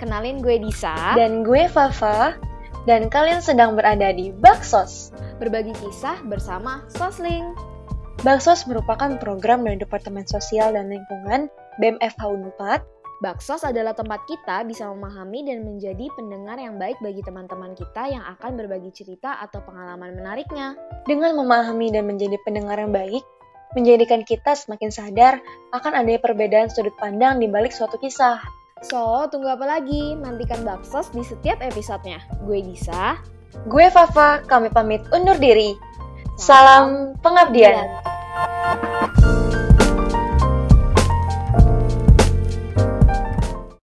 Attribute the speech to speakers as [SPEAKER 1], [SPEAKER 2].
[SPEAKER 1] kenalin gue Disa.
[SPEAKER 2] Dan gue Fafa. Dan kalian sedang berada di Baksos.
[SPEAKER 1] berbagi kisah bersama Sosling.
[SPEAKER 2] Baksos merupakan program dari Departemen Sosial dan Lingkungan BMFH Unpad.
[SPEAKER 1] Baksos adalah tempat kita bisa memahami dan menjadi pendengar yang baik bagi teman-teman kita yang akan berbagi cerita atau pengalaman menariknya.
[SPEAKER 2] Dengan memahami dan menjadi pendengar yang baik, menjadikan kita semakin sadar akan adanya perbedaan sudut pandang di balik suatu kisah.
[SPEAKER 1] So, tunggu apa lagi? Nantikan Baksos di setiap episodenya. Gue Disa.
[SPEAKER 2] Gue Fafa, kami pamit undur diri. Salam pengabdian.
[SPEAKER 1] Dian.